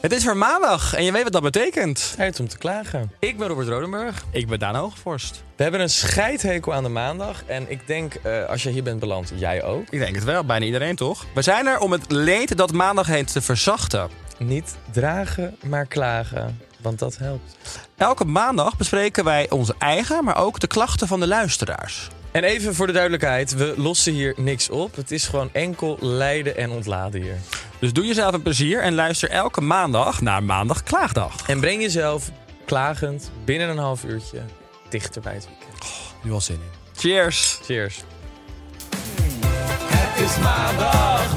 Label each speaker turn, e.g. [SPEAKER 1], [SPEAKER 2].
[SPEAKER 1] Het is weer maandag en je weet wat dat betekent.
[SPEAKER 2] Tijd om te klagen.
[SPEAKER 1] Ik ben Robert Rodenburg. Ik ben Daan Hoogvorst.
[SPEAKER 2] We hebben een scheidhekel aan de maandag. En ik denk, eh, als je hier bent beland, jij ook.
[SPEAKER 1] Ik denk het wel, bijna iedereen toch? We zijn er om het leed dat maandag heet te verzachten.
[SPEAKER 2] Niet dragen, maar klagen. Want dat helpt.
[SPEAKER 1] Elke maandag bespreken wij onze eigen, maar ook de klachten van de luisteraars.
[SPEAKER 2] En even voor de duidelijkheid, we lossen hier niks op. Het is gewoon enkel lijden en ontladen hier.
[SPEAKER 1] Dus doe jezelf een plezier en luister elke maandag naar Maandag Klaagdag.
[SPEAKER 2] En breng jezelf klagend binnen een half uurtje dichter bij het weekend.
[SPEAKER 1] Nu al zin in. Cheers!
[SPEAKER 2] Cheers.
[SPEAKER 3] Het is maandag,